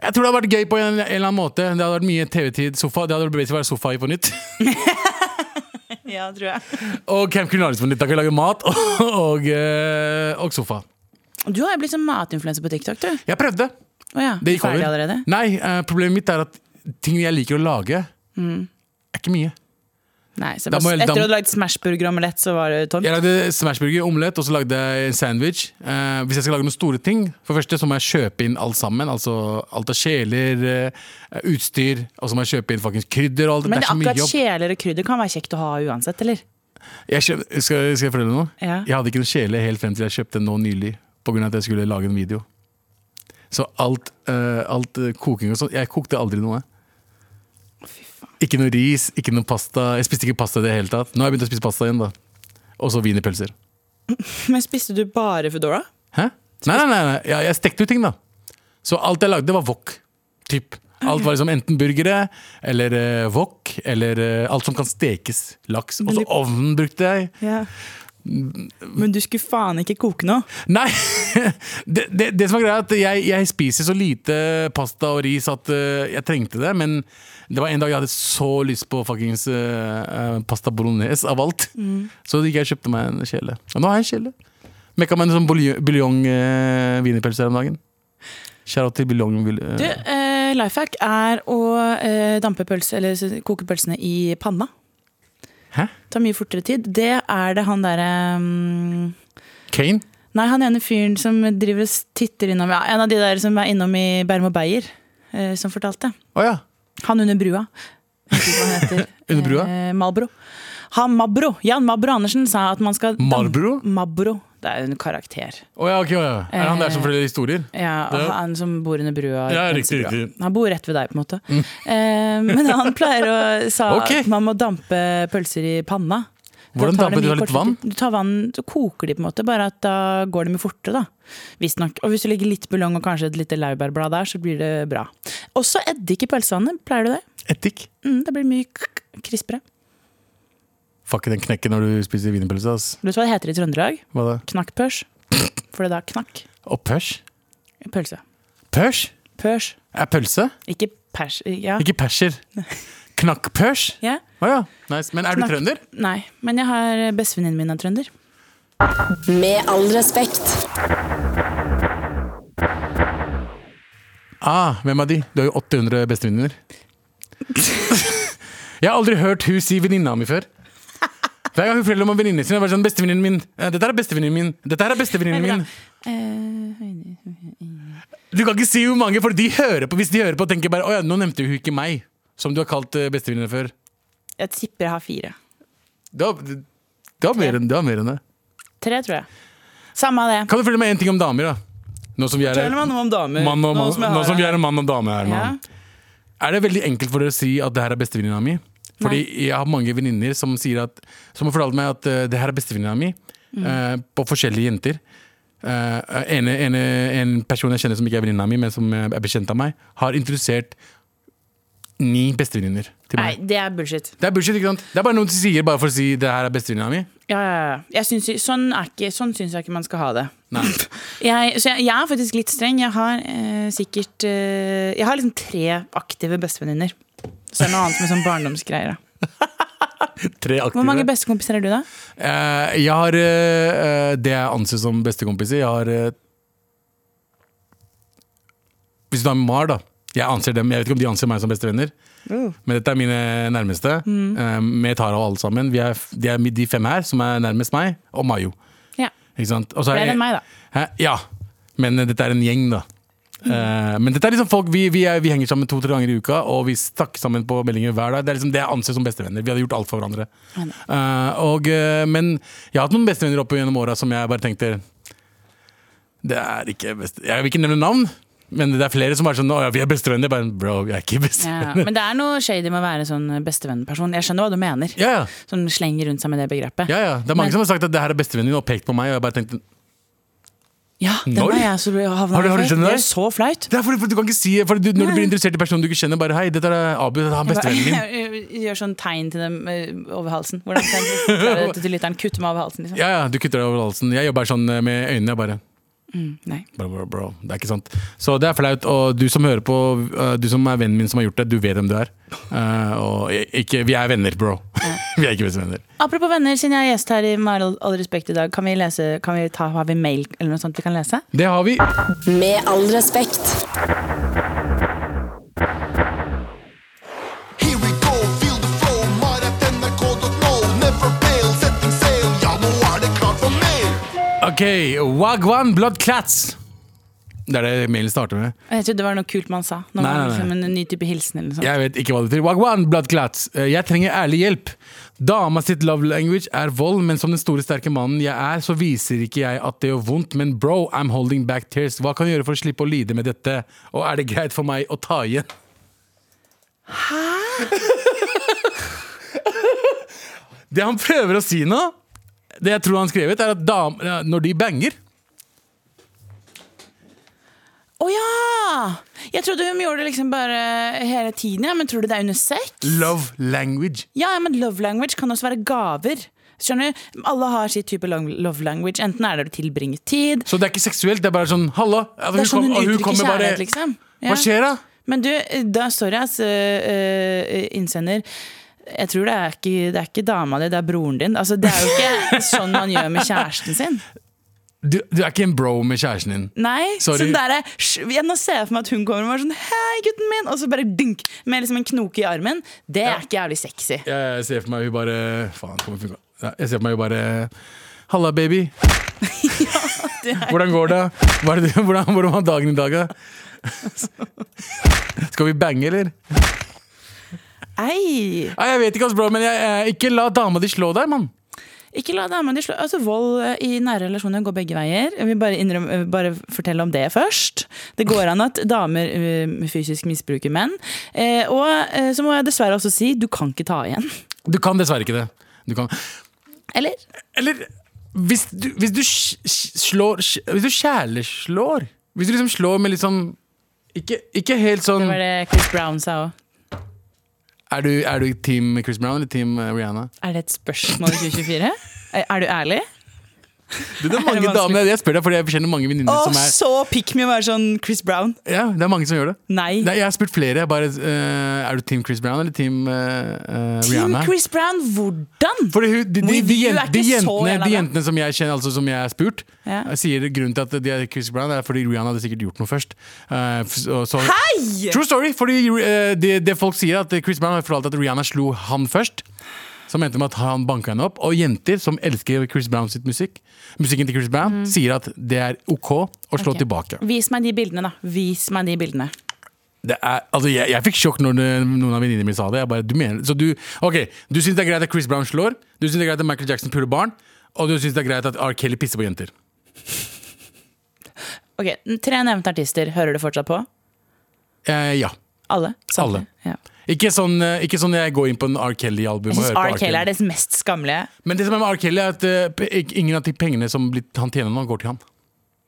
Jeg tror det hadde vært gøy på en, en eller annen måte. Det hadde vært mye TV-tid, sofa. Det hadde basically vært sofa i på nytt.
Ja, tror jeg.
Og Camp Kulinaris på nytt. Da kan vi lage mat og, og, eh, og sofa.
Du har jo blitt sånn matinfluenser på TikTok, du.
Jeg prøvde.
Å ja.
Det gikk
Ferdig
over.
allerede?
Nei, eh, problemet mitt er at ting jeg liker å lage,
Mm.
er ikke mye.
Nei, så
Da må jeg-
etter
da
at du
må-
hadde lagd Smashburger og omelett, så var det tomt?
Jeg lagde smashburger, omelett og så lagde jeg en sandwich. Eh, hvis jeg skal lage noen store ting, for det første så må jeg kjøpe inn alt sammen. Altså alt av kjeler, eh, utstyr, og så må jeg kjøpe inn fuckings krydder og alt.
Men
det er så mye
akkurat
jobb.
kjeler og krydder kan være kjekt å ha uansett, eller?
Jeg kjøp, skal, skal jeg fortelle noe?
Ja.
Jeg hadde ikke noen kjele helt frem til jeg kjøpte den nå nylig, på grunn av at jeg skulle lage en video. Så alt, eh, alt eh, koking og sånn Jeg kokte aldri noe. Ikke noe ris, ikke noe pasta. Jeg spiste ikke pasta i det hele tatt. Nå har jeg begynt å spise pasta igjen, da. Og så wienerpølser.
Men spiste du bare Foodora?
Hæ? Nei, nei, nei, nei. Jeg, jeg stekte jo ting, da. Så alt jeg lagde, var wok. Typ. Alt var liksom enten burgere eller eh, wok eller eh, alt som kan stekes. Laks. Og så ovnen brukte jeg.
Ja.
Mm.
Men du skulle faen ikke koke noe.
Nei! Det, det, det som er greia er at jeg, jeg spiser så lite pasta og ris at eh, jeg trengte det, men det var en dag jeg hadde så lyst på fuckings eh, eh, pasta bolognese av alt. Så gikk jeg og kjøpte meg en kjele. Og nå har jeg en kjele. Mekka meg en sånn buljong-wienerpølse her om dagen. Shout out til buljong. eh,
Du, eh, lifehack er å eh, dampe pølse, eller s- koke pølsene i panna.
Hæ?
Tar mye fortere tid. Det er det han derre mm,
Kane?
Nei, han ene fyren som driver og s- titter innom ja, En av de der som er innom i Bærum og Beyer, eh, som fortalte.
Å ja.
Han under brua. Jeg vet ikke hva han heter.
Under brua?
Eh, Malbro. Han Mabro, Jan Mabro Andersen sa at man skal
Marlboro?
Mabro. Det er jo en karakter.
Å ja, ok, å ja. Er det han der som forteller historier?
Ja,
Det er-
Han som bor under brua. i
Ja, riktig,
Prinsebrua.
riktig. Mm.
Han bor rett ved deg, på en måte. Eh, men han pleier å sa
Ok.
at man må dampe pølser i panna. Da
Hvordan
tar det
damper du?
mye
Du har litt
kortere
vann?
tid. Du tar vann, så koker de på en måte, bare at da går de mye fortere, da. Visstnok. Og hvis du legger litt buljong og kanskje et lite laurbærblad der, så blir det bra. Også eddik i pølsevannet, pleier du det?
Etikk?
Mm, det blir mye k- krispere.
Fuck, den knekker når du spiser wienerpølse, ass.
Vet du hva det heter i Trøndelag?
Hva da?
Knakkpørs. For det er da knakk
Opphørs?
pølse.
Pørs?
Pørs.
Er pølse?
Ikke pers... Ja.
Ikke perser. Knakkpørs?
ja.
Å ja. Nice. Men er du
Knakk-
trønder?
Nei, men jeg har bestevenninnen min er trønder.
Med all respekt.
Ah, hvem av de? Du har jo 800 bestevenninner. Jeg har aldri hørt hun si venninna mi før. Hver gang hun forteller om venninnen sin, er det bare sånn bestevenninnen min. eh, Dette er bestevenninnen min. Dette her er bestevenninnen min.
Eh,
Du kan ikke si hvor mange, for de hører på hvis de hører på og tenker bare Å ja, nå nevnte hun ikke meg, som du har kalt eh, bestevenninne før.
Jeg tipper jeg har fire.
Det var, det var, mer, enn, det var mer enn det.
Tre, tror jeg. Samme av det.
Kan du fortelle meg én ting om damer, da? Nå som vi er
Fortell meg noe om damer.
mann og
Noe
mann,
som jeg
nå
har
som vi
her.
er en mann og dame her,
Ja.
mann. Er det veldig enkelt for dere å si at det her er bestevenninna mi? Fordi jeg har mange venninner som, sier at- som har fortalt meg at eh, det her er bestevenninna mi,
Mm.
eh, på forskjellige jenter. Eh, ene, ene, en person jeg kjenner som ikke er venninna mi, men som eh, er bekjent av meg, har introdusert ni bestevenninner til
Nei,
meg.
det er bullshit.
Det er bullshit, ikke sant? Det er bare noe de sier bare for å si det her er bestevenninna mi.
Ja, ja, ja. Jeg syns, sånn, er ikke, sånn syns jeg ikke man skal ha det.
Nei.
Jeg, så jeg, jeg er faktisk litt streng. Jeg har eh, sikkert eh, Jeg har liksom tre aktive bestevenninner. Så er det noe annet med sånn barndomsgreier. da.
Tre
Hvor mange
aktive.
bestekompiser er du, da?
Eh, jeg har eh, eh, det jeg anser som bestekompiser. Jeg har eh, Hvis du har Mar, da. Jeg anser dem, jeg vet ikke om de anser meg som bestevenner,
Uh.
men dette er mine nærmeste.
Mm.
eh, med Tara og alle sammen. Vi er, f- de er de fem her som er nærmest meg, og Mayo.
Ja.
Ikke sant? Og så
Flere
jeg-
enn meg, da.
Hæ? Ja, men eh, dette er en gjeng, da.
Mm.
Eh, men dette er liksom folk vi, vi, er, vi henger sammen to-tre ganger i uka, og vi snakker sammen på meldinger hver dag. Det er liksom det jeg anser som bestevenner. Vi hadde gjort alt for hverandre. Eh, og, eh, men jeg har hatt noen bestevenner opp gjennom åra som jeg bare tenkte Det er ikke beste... Jeg vil ikke nevne navn, men det er flere som er sånn Å ja, vi er bestevenner. Jeg Bare, Bro, jeg er ikke
Ja,
bestevenner.
men det er noe shady med å være sånn bestevennperson. Jeg skjønner hva du mener.
Ja, ja.
Som slenger rundt seg med det begrepet.
ja, ja. Det er mange som
Men-
har sagt at det her er bestevennen din, og pekt på meg, og jeg bare tenkte
Ja, den
Når?
har jeg så havna
Har du- har du
i før.
skjønnet
Det
det?
er så flaut.
Det er fordi, fordi du kan ikke si for du, Når du blir interessert i personen du ikke kjenner, bare Hei, dette er Abu, han er bestevennen min.
Jeg Gjør sånn tegn til dem eh, over halsen. Hvordan kan jeg forklare dette til lytteren? Kutte meg over halsen, liksom.
Ja, ja, du kutter deg over halsen. Jeg jobber sånn eh, med øynene. bare
Nei.
Bro, bro, bro. Det er ikke sant. Så det er flaut. Og du som hører på, eh, du som er vennen min som har gjort det, du vet hvem du er. Eh, og jeg- ikke, vi er venner, bro. vi er ikke bestevenner.
Apropos venner, siden jeg er gjest her i Med all, all respekt i dag, kan vi lese kan vi ta, Har vi mail eller noe sånt vi kan lese?
Det har vi.
Med all respekt.
Here we go, feel the flow, mar at nrk.no. Never fail, setting sail, ja nå er det klart for mer.
OK. Wagwan blood clats. Det er det mailen starter med.
Jeg trodde det var noe kult man sa.
Nei,
Når man
nei,
liksom En ny type hilsen eller noe sånt.
Jeg vet ikke hva det betyr. Wagwan blood clats. Eh, Jeg trenger ærlig hjelp. Dama sitt love language er vold, men som den store, sterke mannen jeg er, så viser ikke jeg at det gjør vondt, men bro, I'm holding back tears. Hva kan jeg gjøre for å slippe å lide med dette? Og er det greit for meg å ta igjen? Hæ? det han prøver å si nå, det jeg tror han har skrevet, er at dam, eh, når de banger
Å ja! Jeg trodde hun gjorde det liksom bare hele tiden, ja, men tror du det er under sex?
Love language.
Ja, ja, men love language kan også være gaver. Skjønner du? Alle har sitt type lang- love language. Enten er det å tilbringe tid
Så det er ikke seksuelt, det er bare sånn halla.
Det er sånn hun uttrykker kjærlighet, liksom. Ja.
Hva skjer da?
Men du, da, sorry, ass, øh, øh, innsender. Jeg tror det er, ikke, det er ikke dama di, det er broren din. Altså, det er jo ikke sånn man gjør med kjæresten sin.
du, du er ikke en bro med kjæresten din.
Nei,
Sorry.
sånn der, er- sj- jeg, Nå ser jeg for meg at hun kommer og er sånn Hei, gutten min! Og så bare dunk med liksom en knoke i armen. Det er ikke jævlig sexy.
Jeg ser for meg hun bare Faen, kommer funka. Ja, Jeg ser for meg hun bare Halla, baby. Hvordan går det? Hva er det? du- Hvordan, hvordan var dagen i dag, da? Skal vi bange, eller?
Ei!
Nei, jeg vet ikke, ass, bro, men jeg, jeg, ikke la dama di slå deg, mann.
Ikke la dama di slå Altså, vold øh, i nære relasjoner går begge veier. Jeg vil bare, innrømme, øh, bare fortelle om det først. Det går an at damer øh, fysisk misbruker menn. Eh, og øh, så må jeg dessverre også si du kan ikke ta igjen.
Du kan dessverre ikke det. Du kan.
Eller?
Eller hvis du, hvis du sj- sj- slår sj- Hvis du kjæleslår Hvis du liksom slår med liksom Ikke, ikke helt sånn
Det var det Chris Brown sa òg.
er du, er du team Chris Brown eller team eh, Rihanna?
Er det et spørsmål i 2024? Er er du ærlig?
Det er mange
vanskelig?
damer, jeg spør deg, fordi jeg kjenner mange venninner
Og
som er
så pick me å være sånn Chris Brown.
Ja, det er mange som gjør det.
Nei.
jeg har spurt flere. Bare, eh, er du Team Chris Brown eller Team eh, eh,
Team
Rihanna?
Chris Brown, hvordan?
Fordi hun, de, de, de,
Review er
jen- de,
ikke så
jentene,
jævla
de
bra.
jentene som jeg kjenner, altså som jeg har spurt,
Ja.
eh, sier grunnen til at de er Chris Brown, er fordi Rihanna hadde sikkert gjort noe først. Eh, f- og så,
Hei!
True story! Fordi eh, det, det folk sier, at Chris Brown har fortalt at Rihanna slo han først. Som endte med at han banka henne opp. Og jenter som elsker Chris Brown sitt musikk, musikken til Chris Brown, sier at det er OK å slå
Mm. Ok.
tilbake.
Vis meg de bildene, da. Vis meg de bildene.
Det er, altså jeg, jeg fikk sjokk når det, noen av venninnene mine sa det. Jeg bare, du mener, så du, ok, du syns det er greit at Chris Brown slår, du syns det er greit at Michael Jackson puler barn, og du syns det er greit at R. Kelly pisser på jenter.
Ok, Tre nevnte artister. Hører du fortsatt på?
Eh, ja.
Alle? Samtlige?
Alle.
Ja.
Ikke sånn, eh, ikke sånn jeg går inn på en R. Kelly-album
Jeg
og
syns
hører på
R. Kelly er det mest skammelige.
Men det som er med R. Kelly, er at eh, p- ik- ingen av de pengene som blir, han tjener nå, går til han.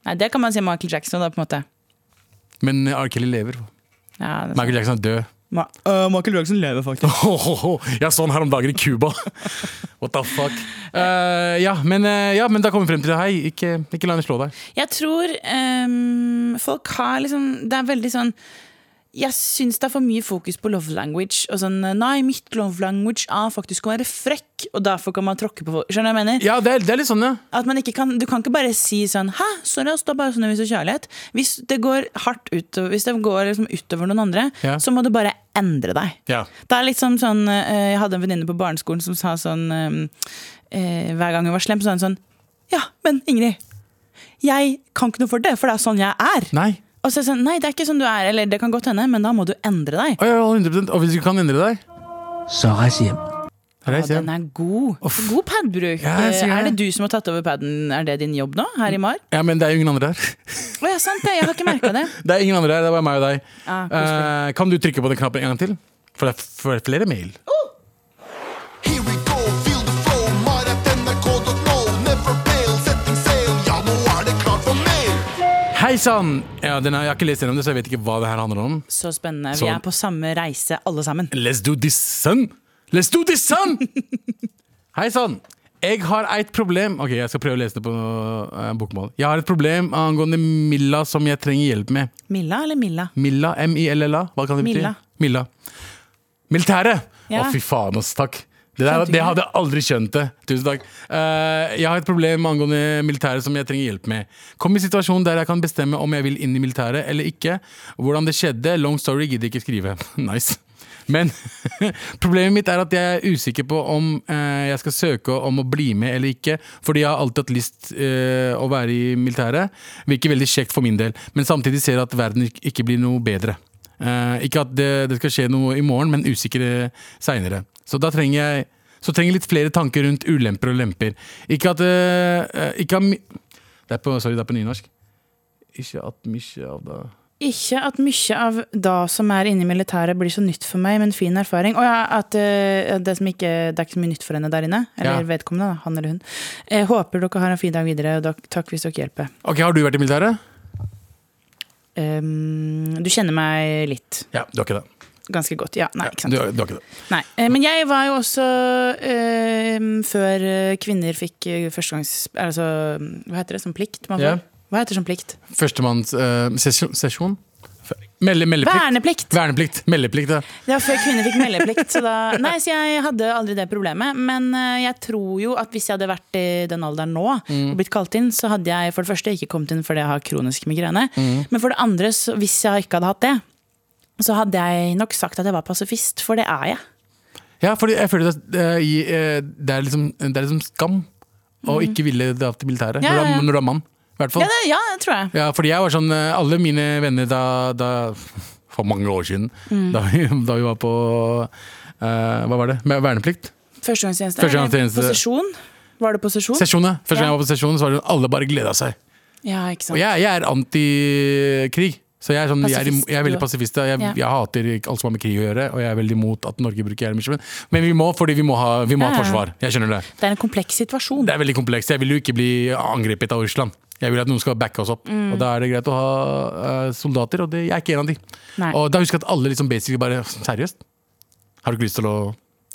Nei, Det kan man si om Michael Jackson. da, på en måte.
Men eh, R. Kelly lever.
Ja, det er sant.
Michael Jackson er død.
Ma Øh, Michael Jackson lever faktisk.
Ho, ho, ho. Jeg så han her om dagen i Cuba. What the fuck. Eh, ja, men, eh, ja, men da kommer vi frem til det. Hei, ikke, ikke la henne slå deg.
Jeg tror ehm, folk har liksom Det er veldig sånn jeg syns det er for mye fokus på love language. Og sånn, nei, mitt love language er faktisk å være frekk, og derfor kan man tråkke på folk. Skjønner du hva jeg mener?
Ja, det er, det er litt sånn, ja.
At man ikke kan, du kan ikke bare si sånn Hæ, sorry, ass, det er bare sånn vi viser kjærlighet. Hvis det går hardt utover, hvis det går liksom utover noen andre,
Ja.
så må du bare endre deg.
Ja.
Det er liksom sånn eh, Jeg hadde en venninne på barneskolen som sa sånn eh, eh, Hver gang hun var slem, så sa hun sånn Ja, men Ingrid, jeg kan ikke noe for det, for det er sånn jeg er.
Nei.
Og så er det sånn, Nei, det er ikke sånn du er, eller det kan godt hende, men da må du endre deg.
Å, ja, 100 Og hvis du kan endre deg Så reis
Ja,
hjem.
den er god. God padbruk.
Ja, jeg sier
er
det. Mm.
det du som har tatt over paden? Er det din jobb nå, her i Mar?
Ja, men det er jo ingen andre her.
Å ja, sant det. Jeg har ikke merka det.
Det er ingen andre her, det er bare meg og deg.
Ah,
Eh, kan du trykke på den knappen en gang til? For det er f- for det er flere mail.
Here we go, feel the flow, mar at nrk.no. Never fail, setting sail, ja nå er det klart for mer.
Hei sann! Ja, den har- jeg har ikke lest gjennom det, så jeg vet ikke hva det her handler om.
Så spennende. Vi
Sånn.
er på samme reise, alle sammen.
Let's do this, son! Let's do this, son! Hei sann! Jeg har et problem Ok, jeg skal prøve å lese det på eh, bokmål. Jeg har et problem angående Milla som jeg trenger hjelp med.
Milla eller Milla?
Milla, M-I-L-L-A, hva kan det bety?
Milla.
Milla. Militæret!
Ja.
Å, fy faen, ass, takk. Det, der,
Skjønte
det
ikke.
hadde jeg aldri skjønt det. Tusen takk. Eh, jeg har et problem angående militæret som jeg trenger hjelp med. Kom i situasjon der jeg kan bestemme om jeg vil inn i militæret eller ikke. Hvordan det skjedde, long story, gidder ikke skrive. nice. Men problemet mitt er at jeg er usikker på om eh, jeg skal søke om å bli med eller ikke, fordi jeg har alltid hatt lyst eh, å være i militæret. Virker veldig kjekt for min del, men samtidig ser jeg at verden ik- ikke blir noe bedre. Eh, ikke at det, det skal skje noe i morgen, men usikre seinere. Så da trenger jeg så trenger jeg litt flere tanker rundt ulemper og lemper. Ikke at eh, eh, ikke at mi det er på, Sorry, det er på nynorsk. Ikke at mykje av det
Ikke at mye av da som er inne i militæret blir så nytt for meg, men fin erfaring. Og ja, at eh, det, som ikke, det er ikke så mye nytt for henne der inne. Eller
Ja.
vedkommende, da, han eller hun. Jeg håper dere har en fin dag videre, og dok- takk hvis dere hjelper.
Ok, Har du vært i militæret?
Ehm, du kjenner meg litt.
Ja, du har ikke det.
Ganske godt. Ja, nei,
Ja,
ikke sant.
du, har- du har ikke det.
Nei, eh, men jeg var jo også ehm, før eh, kvinner fikk eh, førstegangs... Altså, hva heter det? Som plikt? Man får.
Ja.
Hva heter det som plikt?
Førstemanns eh, sesjon, sesjon? F- Melde, meldeplikt.
Verneplikt!
Verneplikt. Meldeplikt, ja.
Det var før kvinner fikk meldeplikt. Så da, nei, så jeg hadde aldri det problemet. Men eh, jeg tror jo at hvis jeg hadde vært i den alderen nå
Mm.
og blitt kalt inn, så hadde jeg for det første ikke kommet inn fordi jeg har kronisk migrene.
Mm.
Men for det andre, så, hvis jeg ikke hadde hatt det, så hadde jeg nok sagt at jeg var pasifist, for det er jeg.
Ja, fordi jeg føler at eh, i, eh, det, er liksom, det er liksom skam å ikke ville dra til militæret
Mhm. Ja,
når, du
ja.
er, når du er mann. I hvert fall.
Ja,
Ja,
det, ja, det tror jeg.
fordi jeg var sånn eh, Alle mine venner da, da For mange år siden,
Mm.
da, vi, da vi var på eh, Hva var det? Med verneplikt?
Førstegangstjeneste.
Førstegangstjeneste.
eller Posisjon. Var det posisjon?
Sesjon, ja. Første gang
Ja.
jeg var på sesjon, så var det sånn, alle bare gleda seg.
Ja, ikke
Og
sant.
jeg, jeg er antikrig. Så jeg er, sånn, jeg, er, im-
Pasifist,
jeg er veldig
du er.
pasifist. ja. Jeg,
Ja.
jeg hater ikke alt som har med krig å gjøre, og jeg er veldig imot at Norge bruker jernbeskyttelse. Men vi må, fordi vi må ha, vi må ha
Ja, ja.
forsvar. Jeg skjønner det.
Det er en kompleks situasjon.
Det er veldig komplekst. Jeg vil jo ikke bli angrepet av Russland. Jeg vil at noen skal backe oss opp.
Mm.
Og da er det greit å ha eh, soldater, og det, jeg er ikke en av de.
Nei.
Og da husker jeg at alle liksom basically bare Seriøst? Har du ikke lyst til å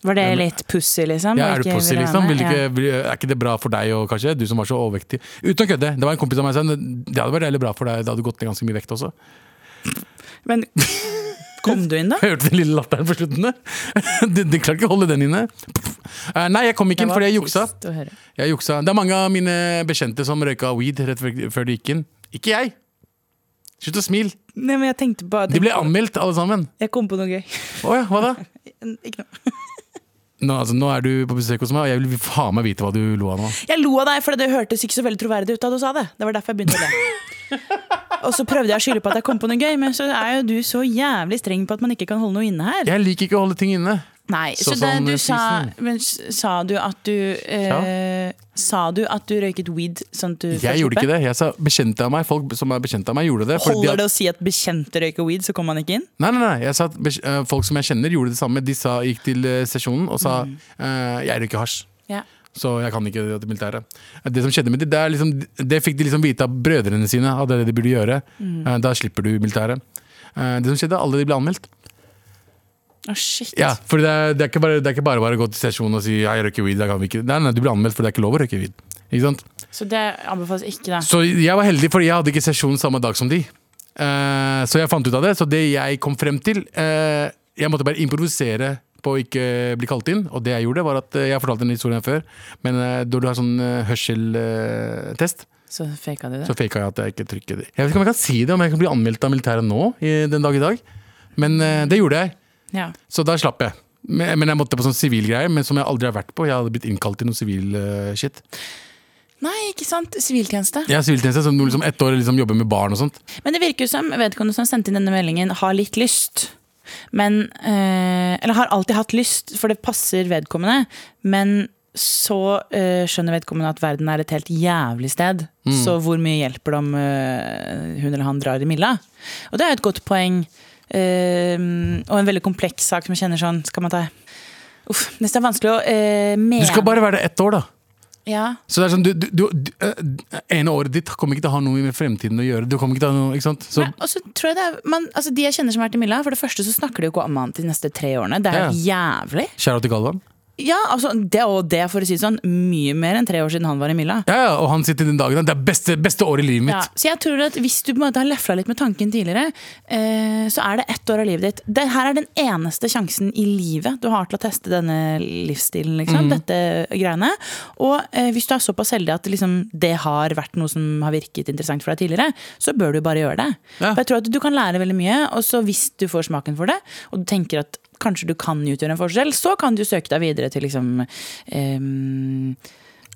Var det litt pussy, liksom?
Ja,
og
er du
ikke
pussy,
ville være
liksom?
med?
Vil du
Ja.
ikke, vil, er ikke det bra for deg og kanskje? Du som var så overvektig. Uten å kødde! Det var en kompis av meg som sa det hadde vært veldig bra for deg. Da hadde du gått ned ganske mye vekt også.
Men kom du inn, da?
Jeg hørte den lille latteren på slutten der. Den de klarte ikke å holde den inne. Eh, Nei, jeg kom ikke inn fordi jeg juksa.
trist å høre.
Jeg juksa. Det er mange av mine bekjente som røyka weed rett før- før de gikk inn. Ikke jeg! Slutt å smile!
Nei, men jeg tenkte bare
De ble anmeldt, alle sammen.
Jeg kom på noe gøy.
Å ja, hva da?
Ikke noe.
Nå, altså, nå er du på besøk hos meg, og jeg vil faen meg vite hva du lo av nå.
Jeg lo av deg, for det hørtes ikke så veldig troverdig ut da du sa det. Det var derfor jeg begynte å le. Og så prøvde jeg å skylde på at jeg kom på noe gøy, men så er jo du så jævlig streng på at man ikke kan holde noe inne her.
Jeg liker ikke å holde ting inne.
Nei, så,
Så
det,
som eh,
du sa,
prisen.
men s- sa du at du eh, Sa du at du røyket weed sånn at du
Jeg gjorde ikke det. Jeg sa bekjente av meg. Folk som er bekjente av meg, gjorde det. fordi de
Holder
hadde-
det å si at bekjente røyker weed, så kommer man ikke inn?
Nei, nei, nei. Jeg sa at bes- eh, folk som jeg kjenner, gjorde det samme. De sa, gikk til eh, sesjonen og sa
Mm.
eh, jeg røyker hasj.
Ja.
Så jeg kan ikke det til militæret. Det som skjedde med de, det, er liksom, det fikk de liksom vite av brødrene sine, at det er det de burde gjøre. Eh, Da slipper du militæret. Eh, Det som skjedde, alle de ble anmeldt.
Å, shit.
Ja, for det er, det er ikke bare det er ikke bare, bare å gå til stasjonen og si «Ja, jeg røyker weed. Da kan vi ikke. Nei, nei, du blir anmeldt, for det er ikke lov å røyke weed. Ikke sant?
Så det anbefales ikke, da.
Så jeg var heldig, fordi jeg hadde ikke sesjon samme dag som de. Eh, så jeg fant ut av det. Så det jeg kom frem til eh, Jeg måtte bare improvisere på å ikke bli kalt inn. Og det jeg gjorde, var at eh, Jeg har fortalt den historien før, men eh, da du har sånn hørseltest,
Så faka du det.
så faka jeg at jeg ikke trykker det. Jeg vet ikke om jeg kan si det, om jeg kan bli anmeldt av militæret nå, i, den dag i dag. Men eh, det gjorde jeg.
Ja.
Så da slapp jeg. Men men jeg måtte på sånn sivilgreie, men som jeg aldri har vært på. Jeg hadde blitt innkalt til noe sivil eh, shit.
Nei, ikke sant. Siviltjeneste.
Jeg har siviltjeneste, som liksom ett år liksom jobber med barn og sånt.
Men det virker jo som vedkommende som sendte inn denne meldingen, har litt lyst. Men eh, Eller har alltid hatt lyst, for det passer vedkommende. Men så eh, skjønner vedkommende at verden er et helt jævlig sted.
Mm.
Så hvor mye hjelper det om eh, hun eller han drar i milla? Og det er jo et godt poeng. eh, og en veldig kompleks sak som jeg kjenner sånn Skal man ta Uff, det er vanskelig å eh, mene
Du skal bare være der ett år, da.
ja.
Så det er sånn, du, du, du, du eh, ene året ditt kommer ikke til å ha noe med fremtiden å gjøre. Du kommer ikke til å ha noe, ikke sant? Så,
Nei, og så tror jeg det er, man, altså De jeg kjenner som har vært i Milla, for det første så snakker de jo ikke om annet de neste tre årene. Det er helt jævlig.
Kjære til Galvan.
Ja, altså, det og det, for å si det sånn, mye mer enn tre år siden han var i Milla.
Ja, ja, og han sitter den dagen. Det er beste, beste året i livet
Ja,
mitt.
så jeg tror at Hvis du på en måte har lefla litt med tanken tidligere, eh, så er det ett år av livet ditt. Det her er den eneste sjansen i livet du har til å teste denne livsstilen.
Mm.
Liksom, dette greiene. Og eh, hvis du er såpass heldig at liksom, det har vært noe som har virket interessant for deg tidligere, så bør du bare gjøre det.
Ja.
For jeg tror at Du kan lære veldig mye, og så hvis du får smaken for det, og du tenker at kanskje du kan utgjøre en forskjell, så kan du søke deg videre til liksom eh,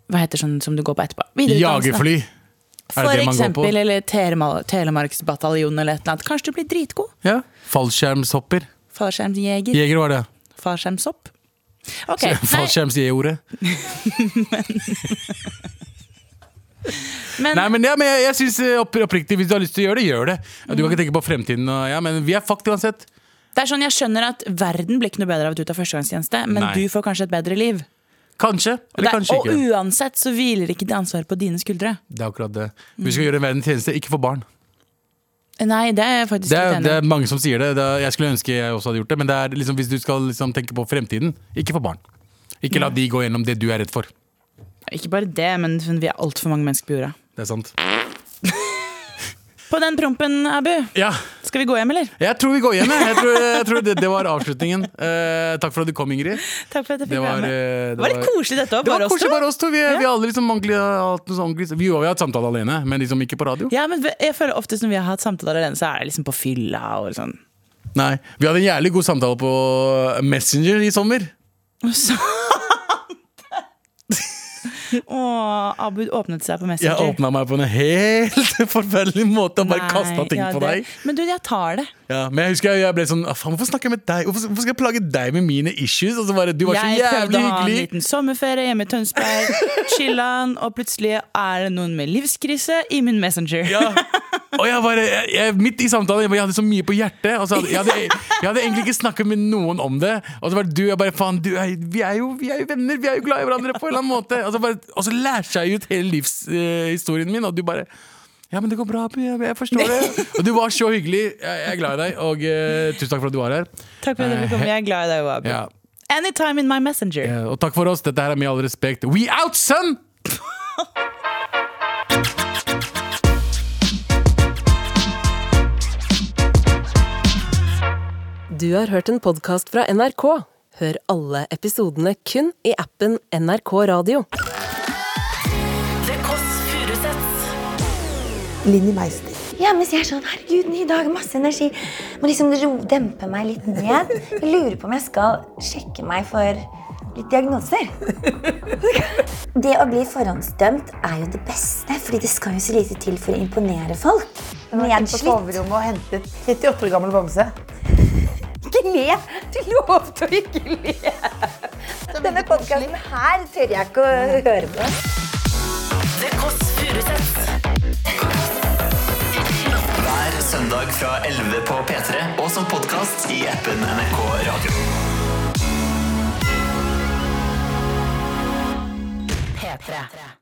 hva heter sånn som du går på etterpå? Videreutdannelse, da.
Jagerfly. Er det
For
det man går på?
eksempel, eller Telemal- Telemarksbataljonen eller et eller annet. Kanskje du blir dritgod?
Ja. Fallskjermshopper.
Fallskjermjeger?
Jeger var det.
Fallskjermsopp? Ok, nei,
Fallskjermsjeordet.
men,
Nei, men, ja, men jeg, jeg synes eh, opp, oppriktig, hvis du har lyst til å gjøre det, gjør det. Du
Mm.
kan ikke tenke på fremtiden. Og, ja, men vi er fucked uansett.
det er sånn jeg skjønner at verden blir ikke noe bedre av at du tar førstegangstjeneste, men
Nei.
du får kanskje et bedre liv.
Kanskje,
Det,
eller kanskje
og
ikke.
uansett så hviler ikke det ansvaret på dine skuldre.
Det er akkurat det. Vi skal gjøre en verden tjeneste, ikke for barn.
Nei, det er jeg faktisk
Det er,
litt
det
enig i.
er mange som sier det. det er, jeg skulle ønske jeg også hadde gjort det. Men det er liksom, hvis du skal liksom tenke på fremtiden, ikke for barn. Ikke la de gå gjennom det du er redd for.
Ikke bare det, men vi er altfor mange mennesker på jorda.
Det er sant.
På den prompen, Abu,
Ja,
skal vi gå hjem, eller?
jeg tror vi går hjem. jeg. Jeg tror, jeg tror det, det var avslutningen. Eh, takk for at du kom, Ingrid.
Takk for at jeg
Det
fikk
var,
være med.
eh,
Det var litt koselig dette òg,
Det var
bare oss
koselig
to.
bare oss to. Vi,
Ja.
vi har aldri liksom ordentlig hatt noe sånn ordentlig- Vi har jo hatt samtale alene, men liksom ikke på radio.
Ja, men jeg føler oftest når vi har hatt samtaler alene, så er det liksom på fylla og sånn.
Nei, Vi hadde en jævlig god samtale på eh, Messenger i sommer.
Og Abu åpnet seg på
Jeg
Messenger.
åpna meg på en helt forferdelig måte og bare
Nei,
kasta ting
ja,
på
det-
deg.
Men du, jeg tar det.
Ja, men jeg husker jeg- jeg ble sånn "Ah, faen, Hvorfor snakker jeg med deg? Hvorfor, hvorfor skal jeg plage deg med mine issues? Og så bare, du var så
jeg prøvde
jævlig
å ha en
hyggelig.
liten sommerferie hjemme i Tønsberg, chillan, og plutselig er det noen med livskrise i min Messenger.
Ja. Og jeg bare, jeg, jeg, midt i samtalen, jeg, bare- jeg hadde så mye på hjertet. Og så hadde, jeg, hadde, jeg hadde egentlig ikke snakket med noen om det. Og så bare du, jeg bare faen, du er, vi, er jo, vi er jo venner, vi er jo glad i hverandre på en eller annen måte. Og så, bare, og så lærte jeg ut hele livshistorien min, og du bare ja, men det går bra, Abu, jeg, jeg forstår det. Og du var så hyggelig. Jeg, jeg er glad i deg, og eh, tusen takk for at du var her.
Takk for at du kom. Jeg er glad i deg, Abu.
Ja.
Anytime in my messenger.
Eh, Og takk for oss. Dette her er Med all respekt We out, son!
Du har hørt en podkast fra NRK. Hør alle episodene kun i appen NRK Radio.
Linni Meister.
Ja, mens jeg er sånn, herregud, ny dag, masse energi. Må liksom ro, dempe meg litt ned. Jeg lurer på om jeg skal sjekke meg for litt diagnoser. Det å bli forhåndsdømt er jo det beste, fordi det skal jo så lite til for å imponere folk. Nedslitt.
soverommet og hentet 38 år gammel bamse.
Ikke le! Du lovte å ikke le! Denne podkasten her tør jeg ikke å høre på.
Hver søndag fra 11 på P3 og som podkast i appen NRK Radio.
P3.